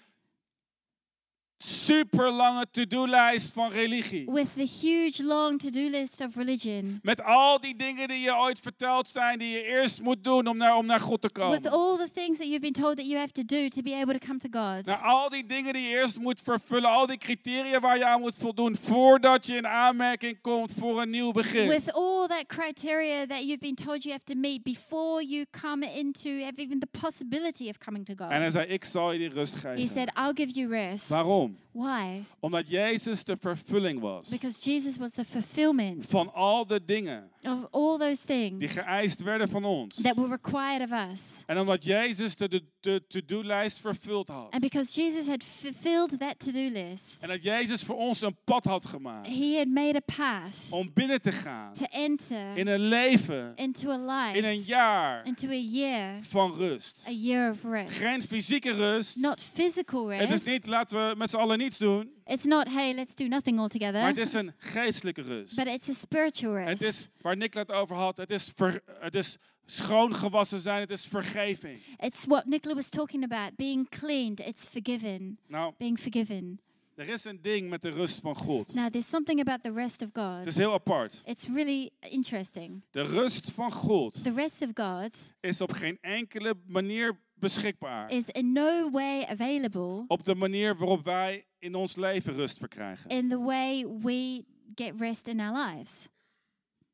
S2: super lange to-do-lijst van religie.
S3: with the huge long to do list of religion,
S2: Met al die dingen die je ooit verteld zijn, die je eerst moet doen om naar, om naar God te
S3: with
S2: komen.
S3: all the things that you've been told that you have to do to be able to come to God.
S2: Naar al die dingen die je eerst moet vervullen, al die criteria waar je aan moet voldoen voordat je in aanmerking komt voor een nieuw begin.
S3: With all that criteria that you've been told you have to meet before you come into have even the possibility of coming to
S2: En hij
S3: God.
S2: zei, ik zal je die rust
S3: He
S2: geven.
S3: said, I'll give you rest.
S2: Waarom?
S3: Why?
S2: Omdat Jezus de vervulling was
S3: Because Jesus was the fulfillment
S2: van al de dingen
S3: of all those
S2: die
S3: things.
S2: geëist werden van ons.
S3: that were required of us.
S2: En omdat Jezus de- de de to-do-lijst vervuld had.
S3: And because Jesus had fulfilled that to do list,
S2: En dat Jezus voor ons een pad had gemaakt
S3: he had made a path
S2: om binnen te gaan
S3: to enter
S2: in een leven,
S3: into a
S2: in een
S3: life,
S2: jaar
S3: into a year,
S2: van rust.
S3: a year of rest.
S2: Geen fysieke rust.
S3: Not physical
S2: Het is
S3: rest.
S2: niet laten we met z'n allen niets doen,
S3: It's not, hey, let's do nothing
S2: maar
S3: altogether.
S2: het is een geestelijke rust.
S3: But it's a spiritual
S2: Het
S3: rest.
S2: is waar Nick het over had, het is, ver, het is schoongewassen zijn, het is vergeving.
S3: It's what Nicola was talking about being cleaned, it's forgiven,
S2: Nou,
S3: being forgiven.
S2: er is een ding met de rust van God.
S3: Now, there's something about the rest of
S2: Het
S3: God.
S2: is heel apart.
S3: It's really interesting.
S2: De rust van God
S3: The rest of God
S2: is op geen enkele manier beschikbaar.
S3: is in no way available
S2: Op de manier waarop wij in ons leven rust verkrijgen.
S3: in the way we get rest in our lives.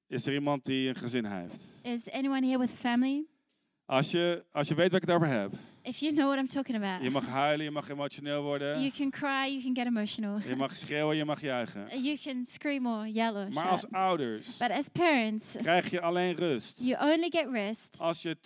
S2: Is er iemand die een gezin heeft?
S3: Is anyone here with a family?
S2: Als je, als je weet waar ik het over heb,
S3: If you know what I'm talking about,
S2: je mag huilen, je mag emotioneel
S3: you
S2: worden,
S3: can cry, you can get emotional,
S2: je mag schreeuwen, je mag juichen.
S3: you can scream or yell or
S2: Maar
S3: shout.
S2: als ouders
S3: But as parents,
S2: krijg je alleen rust
S3: you only get rest
S2: als je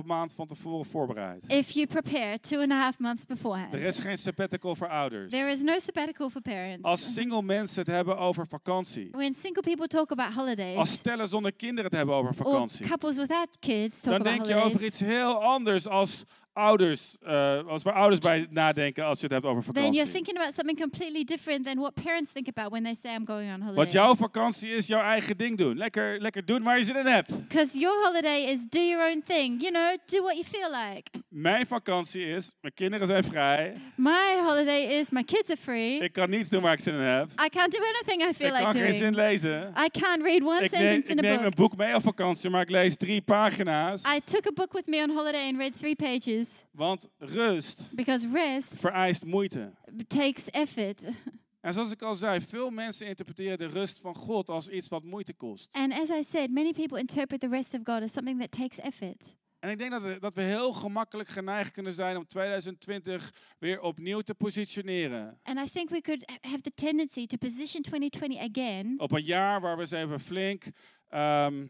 S2: 2,5 maand van tevoren voorbereidt.
S3: if you prepare two and a half months
S2: Er is
S3: beforehand.
S2: geen sabbatical voor
S3: There
S2: ouders.
S3: is no sabbatical for parents.
S2: Als single mensen het hebben over vakantie,
S3: When single people talk about
S2: als
S3: holidays
S2: stellen zonder kinderen Oh, het hebben over
S3: or
S2: vakantie,
S3: couples without kids talk
S2: dan
S3: about
S2: denk je over
S3: holidays,
S2: iets heel anders als ouders, eh, als waar ouders bij nadenken als je het hebt over
S3: then you're
S2: vakantie.
S3: thinking about something completely different than what parents think about when they say, I'm going on
S2: Wat
S3: holiday.
S2: jouw vakantie is, jouw eigen ding doen. Lekker, lekker doen waar je zin in hebt.
S3: Because your holiday is do your own thing, you know, do what you feel like.
S2: Mijn vakantie is, mijn kinderen zijn vrij.
S3: My holiday is my kids are free.
S2: Ik kan niets doen waar ik zin in heb.
S3: I can't do anything I feel
S2: Ik kan
S3: like
S2: geen zin
S3: doing.
S2: lezen.
S3: I can't read one
S2: Ik neem,
S3: sentence
S2: ik
S3: in a
S2: neem een
S3: book.
S2: boek mee op vakantie, maar ik lees drie pagina's.
S3: I took a book with me on holiday and read three pages
S2: Want rust
S3: because rest
S2: vereist moeite.
S3: takes effort.
S2: En zoals ik al zei, veel mensen interpreteren de rust van God als iets wat moeite kost.
S3: And as I said, many people interpret the rest of God as something that takes effort.
S2: En ik denk dat we, dat we heel gemakkelijk geneigd kunnen zijn om 2020 weer opnieuw te positioneren.
S3: And I think we could h- have the tendency to position 2020 again
S2: Op een jaar waar we eens even flink ehm,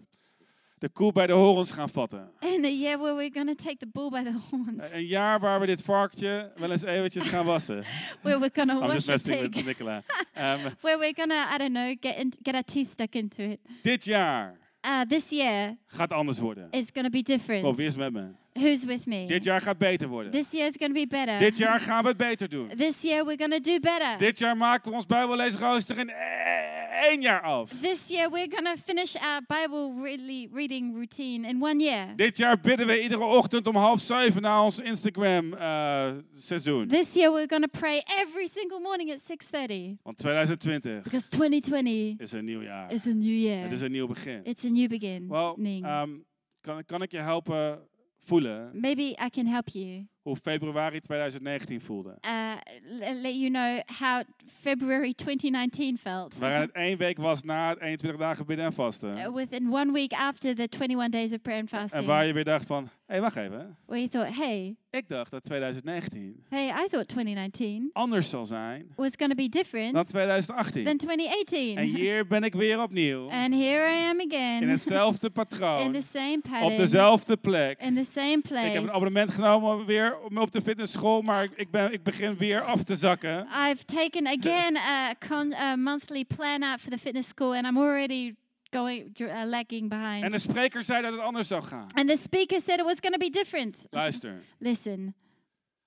S2: de koe bij de horens gaan vatten.
S3: in a year where we're going to take the bull by the horns,
S2: Een jaar waar we dit varkentje wel eens eventjes gaan wassen.
S3: where we're going to
S2: I'm just
S3: wash a
S2: messing
S3: pig,
S2: with Nicola. Ehm,
S3: where we're going to, I don't know, get, in, get our teeth stuck into it.
S2: dit jaar
S3: Uh, this year
S2: gaat anders worden.
S3: is going to be
S2: Kom, wie
S3: different.
S2: is met me?
S3: Who's with me?
S2: Dit jaar gaat beter worden.
S3: This year is going to be better.
S2: Dit jaar gaan we het beter doen.
S3: This year we're going to do better.
S2: Dit jaar maken we ons Bijbelleesrooster in eh, één jaar af.
S3: This year we're going to finish our Bible really reading routine in one year.
S2: Dit jaar bidden we iedere ochtend om half zeven na ons eh, Instagram-seizoen.
S3: This year we're going to pray every single morning at 6:30
S2: Want 2020
S3: because 2020
S2: is een nieuw jaar.
S3: is a new year.
S2: Het is een nieuw begin.
S3: It's a new beginning.
S2: Wel, ehm, kan, kan ik je helpen voelen
S3: Maybe I can help you.
S2: hoe februari 2019 voelde?
S3: Uh, l- let you know how February 2019 felt.
S2: Waarin het één week was na het 21 dagen bidden en
S3: Uh,
S2: vasten.
S3: Within one week after the 21 days of prayer and
S2: En
S3: fasting,
S2: waar je weer dacht van, hé, hey, wacht even.
S3: where you thought, "Hey,
S2: Ik dacht dat 2019
S3: hey, I thought 2019
S2: anders zal zijn
S3: was going to be different
S2: dan 2018.
S3: than 2018."
S2: En hier ben ik weer opnieuw.
S3: And here I am
S2: In
S3: again
S2: hetzelfde
S3: in the
S2: patroon.
S3: same
S2: Op
S3: pattern,
S2: dezelfde plek.
S3: in the same
S2: Ik heb
S3: place.
S2: een abonnement genomen weer om op de fitnessschool, maar ik- ik, ben, ik begin weer af te zakken.
S3: I've taken again a, con- a monthly plan out for the fitness school, and I'm already going dr- uh, lagging behind.
S2: En de spreker zei dat het anders zou gaan.
S3: and the speaker said it was going to be different.
S2: Luister,
S3: Listen,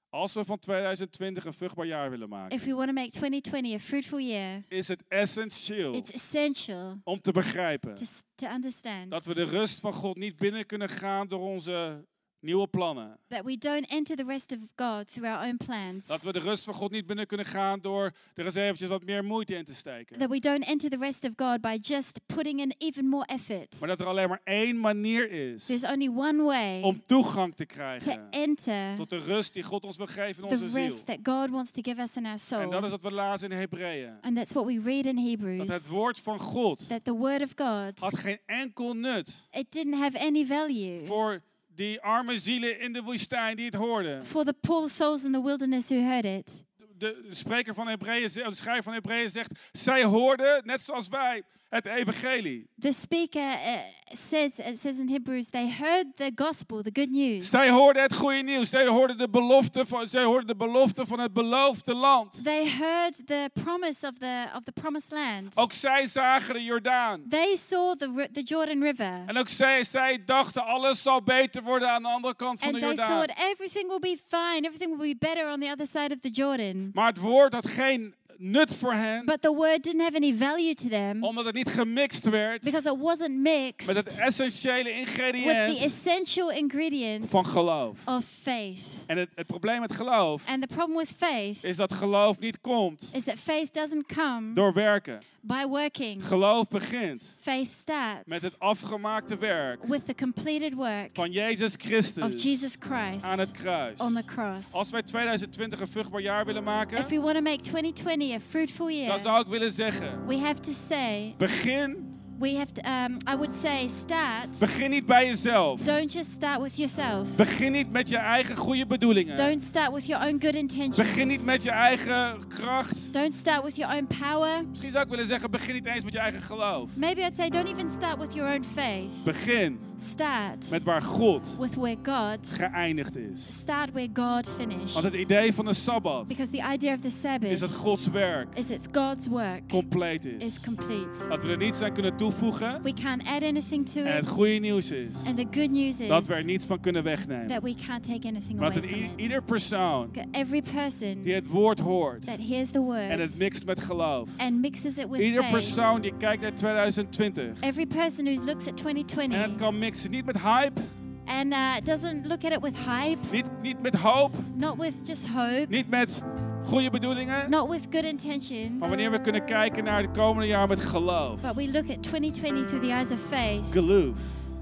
S2: als we van 2020 een vruchtbaar jaar willen maken,
S3: if we want to make 2020 a fruitful year,
S2: is het essentieel
S3: it's essential
S2: om te begrijpen
S3: to, s- to understand
S2: dat we de rust van God niet binnen kunnen gaan door onze nieuwe plannen.
S3: that we don't enter the rest of God through our own plans.
S2: Dat we de rust van God niet binnen kunnen gaan door er eens eventjes wat meer moeite in te steken.
S3: That we don't enter the rest of God by just putting in even more effort.
S2: Maar dat er alleen maar één manier is
S3: There's only one way
S2: om toegang te
S3: to
S2: krijgen
S3: enter
S2: tot de rust die God ons wil geven in
S3: the
S2: onze ziel.
S3: rest that God wants to give us in our
S2: En dat
S3: soul.
S2: is wat we lazen in Hebreeën.
S3: And that's what we read in
S2: Dat het
S3: Hebrews.
S2: woord van God
S3: that the word of God
S2: had geen enkel nut
S3: it didn't have any value
S2: voor die arme zielen in de woestijn die het hoorden.
S3: for the poor souls in the wilderness who heard it.
S2: De spreker van Hebreeën, ze- de schrijver van Hebreeën zegt, zij hoorden, net zoals wij, het evangelie.
S3: The speaker uh, says it says in Hebrews they heard the gospel, the good news.
S2: Zij hoorden het goede nieuws. Zij hoorden de belofte van, zij hoorden de belofte van het beloofde land.
S3: They heard the promise of the of the promised land.
S2: Ook zij zagen de Jordaan.
S3: They saw the ri- the Jordan River
S2: En ook zij, zij dachten, alles zal beter worden aan de andere kant van de
S3: and they
S2: Jordaan.
S3: thought everything will be fine, everything will be better on the other side of the Jordan.
S2: Maar het woord had geen nut voor hen.
S3: But the word didn't have any value to them
S2: Omdat het niet gemixt werd
S3: because it wasn't mixed
S2: met het
S3: with
S2: essentiële
S3: the Oh.
S2: ingrediënt
S3: essential ingredients
S2: van geloof.
S3: of faith.
S2: En het, het probleem met geloof
S3: And the problem with faith
S2: is dat geloof niet komt
S3: is that faith doesn't come
S2: door werken.
S3: by working.
S2: Geloof begint
S3: Faith starts
S2: met het afgemaakte werk
S3: with the completed work
S2: van Jezus
S3: of
S2: Christus
S3: Jesus Christ
S2: aan het kruis.
S3: on the cross.
S2: Als wij 2020 een vruchtbaar jaar willen
S3: If
S2: maken,
S3: we want to make 2020 a fruitful year,
S2: dan zou ik willen zeggen:
S3: we have to say,
S2: begin,
S3: we have to, um, I would say, start.
S2: begin niet bij jezelf.
S3: Don't just start with yourself.
S2: Begin niet met je eigen goede bedoelingen.
S3: Don't start with your own good intentions.
S2: Begin niet met je eigen kracht.
S3: Don't start with your own power.
S2: Misschien zou ik willen zeggen, begin niet eens met je eigen geloof.
S3: Maybe I'd say don't even start with your own faith.
S2: Begin
S3: Start
S2: met waar God
S3: with where God
S2: geëindigd is.
S3: start where God finished.
S2: Want het idee van de Sabbat
S3: Because the idea of the
S2: is dat
S3: Sabbath
S2: Gods werk
S3: is it's God's work
S2: compleet
S3: is
S2: is.
S3: complete.
S2: Dat we er niets aan kunnen toevoegen.
S3: We can't add anything to
S2: En het
S3: it.
S2: goede nieuws is
S3: And the good news is
S2: dat we er niets van kunnen wegnemen.
S3: that we can't take anything
S2: Maar
S3: away
S2: dat
S3: from
S2: een i-
S3: it.
S2: ieder persoon
S3: That Every person
S2: die het woord hoort
S3: that hears the
S2: en
S3: word
S2: het mixt met geloof.
S3: and mixes it with
S2: Ieder
S3: faith,
S2: persoon die kijkt naar 2020
S3: every person who looks at
S2: en het
S3: 2020
S2: kan mixen. Niet met hype,
S3: and uh, doesn't look at it with hype,
S2: niet, niet met hoop,
S3: not with just hope,
S2: niet met goede bedoelingen.
S3: not with good intentions,
S2: Maar wanneer we kunnen kijken naar het komende jaar met geloof.
S3: but we look at 2020 through the eyes of faith,
S2: Geloof.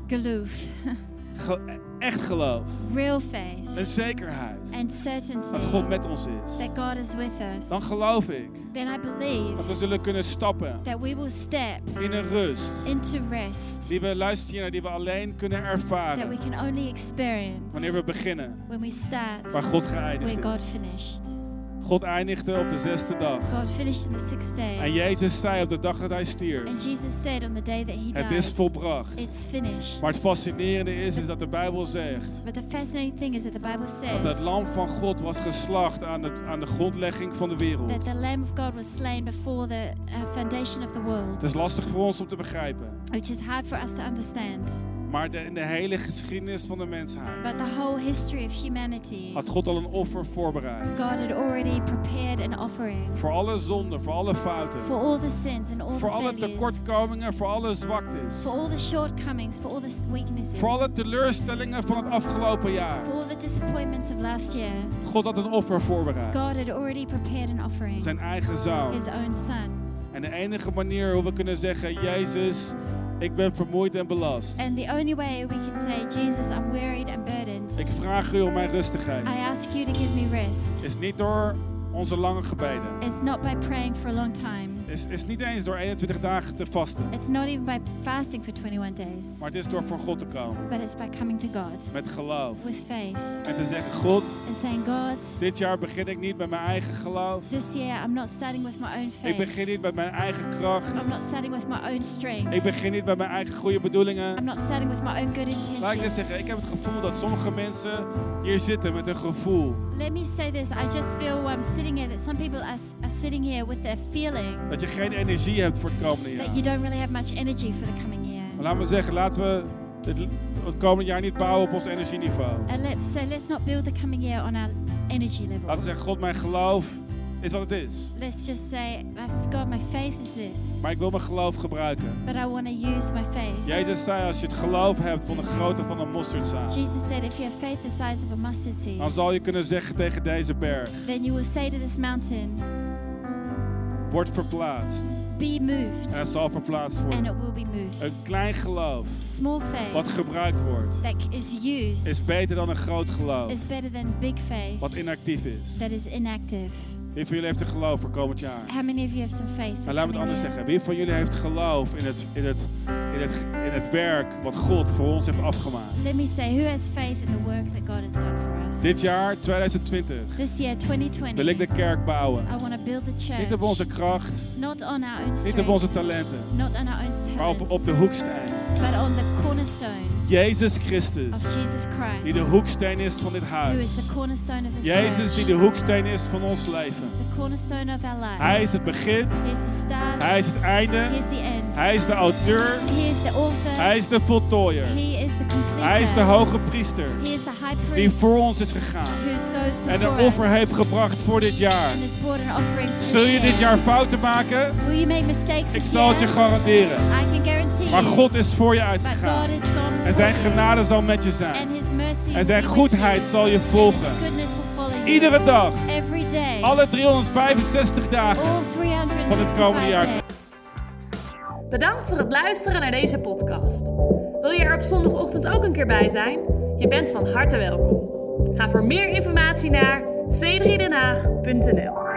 S3: galoof,
S2: Ge- echt geloof.
S3: real faith
S2: Een zekerheid.
S3: and certainty
S2: Dat God met ons is.
S3: that God is with us,
S2: Dan geloof ik
S3: then I believe
S2: dat we zullen kunnen stappen
S3: that we will step
S2: in een rust.
S3: into rest
S2: Die we luisteren naar, die we alleen kunnen
S3: that we
S2: ervaren.
S3: can only experience
S2: Wanneer we beginnen
S3: when we start
S2: waar God
S3: where
S2: geëindigd
S3: God
S2: is.
S3: finished.
S2: God eindigde op de zesde dag.
S3: God finished in the sixth
S2: En
S3: day.
S2: Jezus zei op de dag dat hij
S3: And
S2: stierf.
S3: Jesus said on the day that he
S2: Het
S3: died,
S2: is volbracht.
S3: it's finished.
S2: Maar het fascinerende is, is dat de Bijbel zegt
S3: But the fascinating thing is that the Bible
S2: dat
S3: says
S2: het lam van God was geslacht aan de, aan de grondlegging van de
S3: that
S2: wereld.
S3: the Lamb of God was slain before the uh, foundation of the world,
S2: Het is lastig voor ons om te begrijpen.
S3: which is hard for us to understand.
S2: Maar de, in de hele geschiedenis van de mensheid
S3: But the whole history of humanity,
S2: had God al een offer voorbereid.
S3: God had already prepared an offering
S2: Voor alle zonden, voor alle fouten.
S3: for all the sins and all
S2: Voor
S3: the
S2: alle
S3: failures,
S2: tekortkomingen, voor alle zwaktes.
S3: for all the shortcomings, for all the s- weaknesses,
S2: Voor alle teleurstellingen van het afgelopen jaar.
S3: for all the disappointments of last year.
S2: God had een offer voorbereid.
S3: God had already prepared an offering,
S2: Zijn eigen zoon.
S3: his own son.
S2: En de enige manier hoe we kunnen zeggen, Jezus, ik ben vermoeid en belast.
S3: And the only way we can say, Jesus, I'm wearied and burdened.
S2: Ik vraag u om mijn
S3: I
S2: rustigheid.
S3: ask you to give me rest.
S2: Is niet door onze lange gebeden.
S3: It's not by praying for a long time.
S2: Is, is niet eens door 21 dagen te vasten.
S3: It's not even by fasting for 21 days.
S2: Maar het is door voor God te komen.
S3: But it's by coming to God
S2: Met geloof.
S3: with faith
S2: En te zeggen, God,
S3: and saying, God,
S2: dit jaar begin ik niet met mijn eigen geloof.
S3: this year I'm not starting with my own
S2: Ik
S3: faith.
S2: begin niet met mijn eigen
S3: I'm
S2: kracht.
S3: not starting with my own
S2: Ik
S3: strength.
S2: begin niet met mijn eigen goede
S3: I'm
S2: bedoelingen.
S3: not starting with my own good
S2: Laat ik dit
S3: intentions.
S2: zeggen, ik heb het gevoel dat sommige mensen hier zitten met een gevoel.
S3: Let me say this. I just feel while I'm sitting here that some people are, are sitting here with their feeling
S2: Dat je geen energie hebt voor het komende
S3: that you
S2: jaar.
S3: don't really have much energy for the coming year.
S2: Maar laat me zeggen, laten we het, het komende jaar niet bouwen op ons energieniveau.
S3: And let's, so let's not build the coming year on our energy level.
S2: Laten we zeggen, God, mijn geloof is wat het is.
S3: Let's just say, I've God, my faith is this,
S2: Maar ik wil mijn geloof gebruiken.
S3: but I want to use my faith.
S2: Jezus zei, als je het geloof hebt van de grootte van een mosterdzaad,
S3: Jesus said, if you have faith the size of a mustard seed,
S2: dan zal je kunnen zeggen tegen deze berg,
S3: then you will say to this mountain,
S2: word verplaatst.
S3: be moved,
S2: En het zal verplaatst
S3: and
S2: worden.
S3: it will be moved.
S2: Een klein geloof
S3: Small faith
S2: wat gebruikt wordt,
S3: that is used
S2: is beter dan een groot geloof
S3: is better than big faith
S2: wat inactief is.
S3: that is inactive.
S2: Wie van jullie heeft een geloof voor komend jaar?
S3: How many of you have some faith? for
S2: En laten we het
S3: coming
S2: anders
S3: year?
S2: zeggen. Wie van jullie heeft geloof in het, in, het, in, het, in het werk wat God voor ons heeft afgemaakt?
S3: Let me say, who has faith in the work that God has done for us?
S2: Dit jaar, 2020,
S3: this year, 2020,
S2: wil ik de kerk bouwen.
S3: I want to build the church,
S2: Niet op onze kracht,
S3: not on our own
S2: niet
S3: strength,
S2: op onze talenten,
S3: not on our own
S2: maar
S3: talents,
S2: op, op de hoeksteen.
S3: but on the cornerstone
S2: Jezus
S3: of
S2: Christus,
S3: Jesus Christ,
S2: die de hoeksteen is van dit
S3: who
S2: huis.
S3: is the cornerstone of this
S2: Jezus die
S3: church,
S2: de hoeksteen is van ons leven.
S3: the cornerstone of our life.
S2: Hij is het begin,
S3: he is the start,
S2: hij is het
S3: he
S2: einde,
S3: is the end,
S2: hij is de auteur,
S3: he is the author,
S2: hij is de voltooier.
S3: he is the completer,
S2: Hij is de hoge priester
S3: he is the high
S2: die
S3: priest,
S2: voor ons is gegaan
S3: who goes before
S2: en een offer
S3: us
S2: heeft gebracht voor dit jaar.
S3: and has brought an offering for
S2: Zul je
S3: year.
S2: dit jaar fouten maken?
S3: Will you make mistakes
S2: Ik
S3: this
S2: zal het je
S3: year?
S2: garanderen.
S3: I can guarantee
S2: Maar
S3: you,
S2: God is voor je
S3: but God
S2: uitgegaan
S3: has gone
S2: en
S3: before
S2: zijn
S3: you,
S2: genade zal met je
S3: and
S2: zijn.
S3: his mercy
S2: En zijn
S3: will be with you,
S2: goedheid zal je volgen.
S3: and his goodness will follow you.
S2: Iedere dag,
S3: Every day.
S2: alle 365 dagen.
S3: all 365
S2: Van het komende jaar.
S3: days.
S1: Bedankt voor het luisteren naar deze podcast. Wil je er op zondagochtend ook een keer bij zijn? Je bent van harte welkom. Ga voor meer informatie naar c3denhaag.nl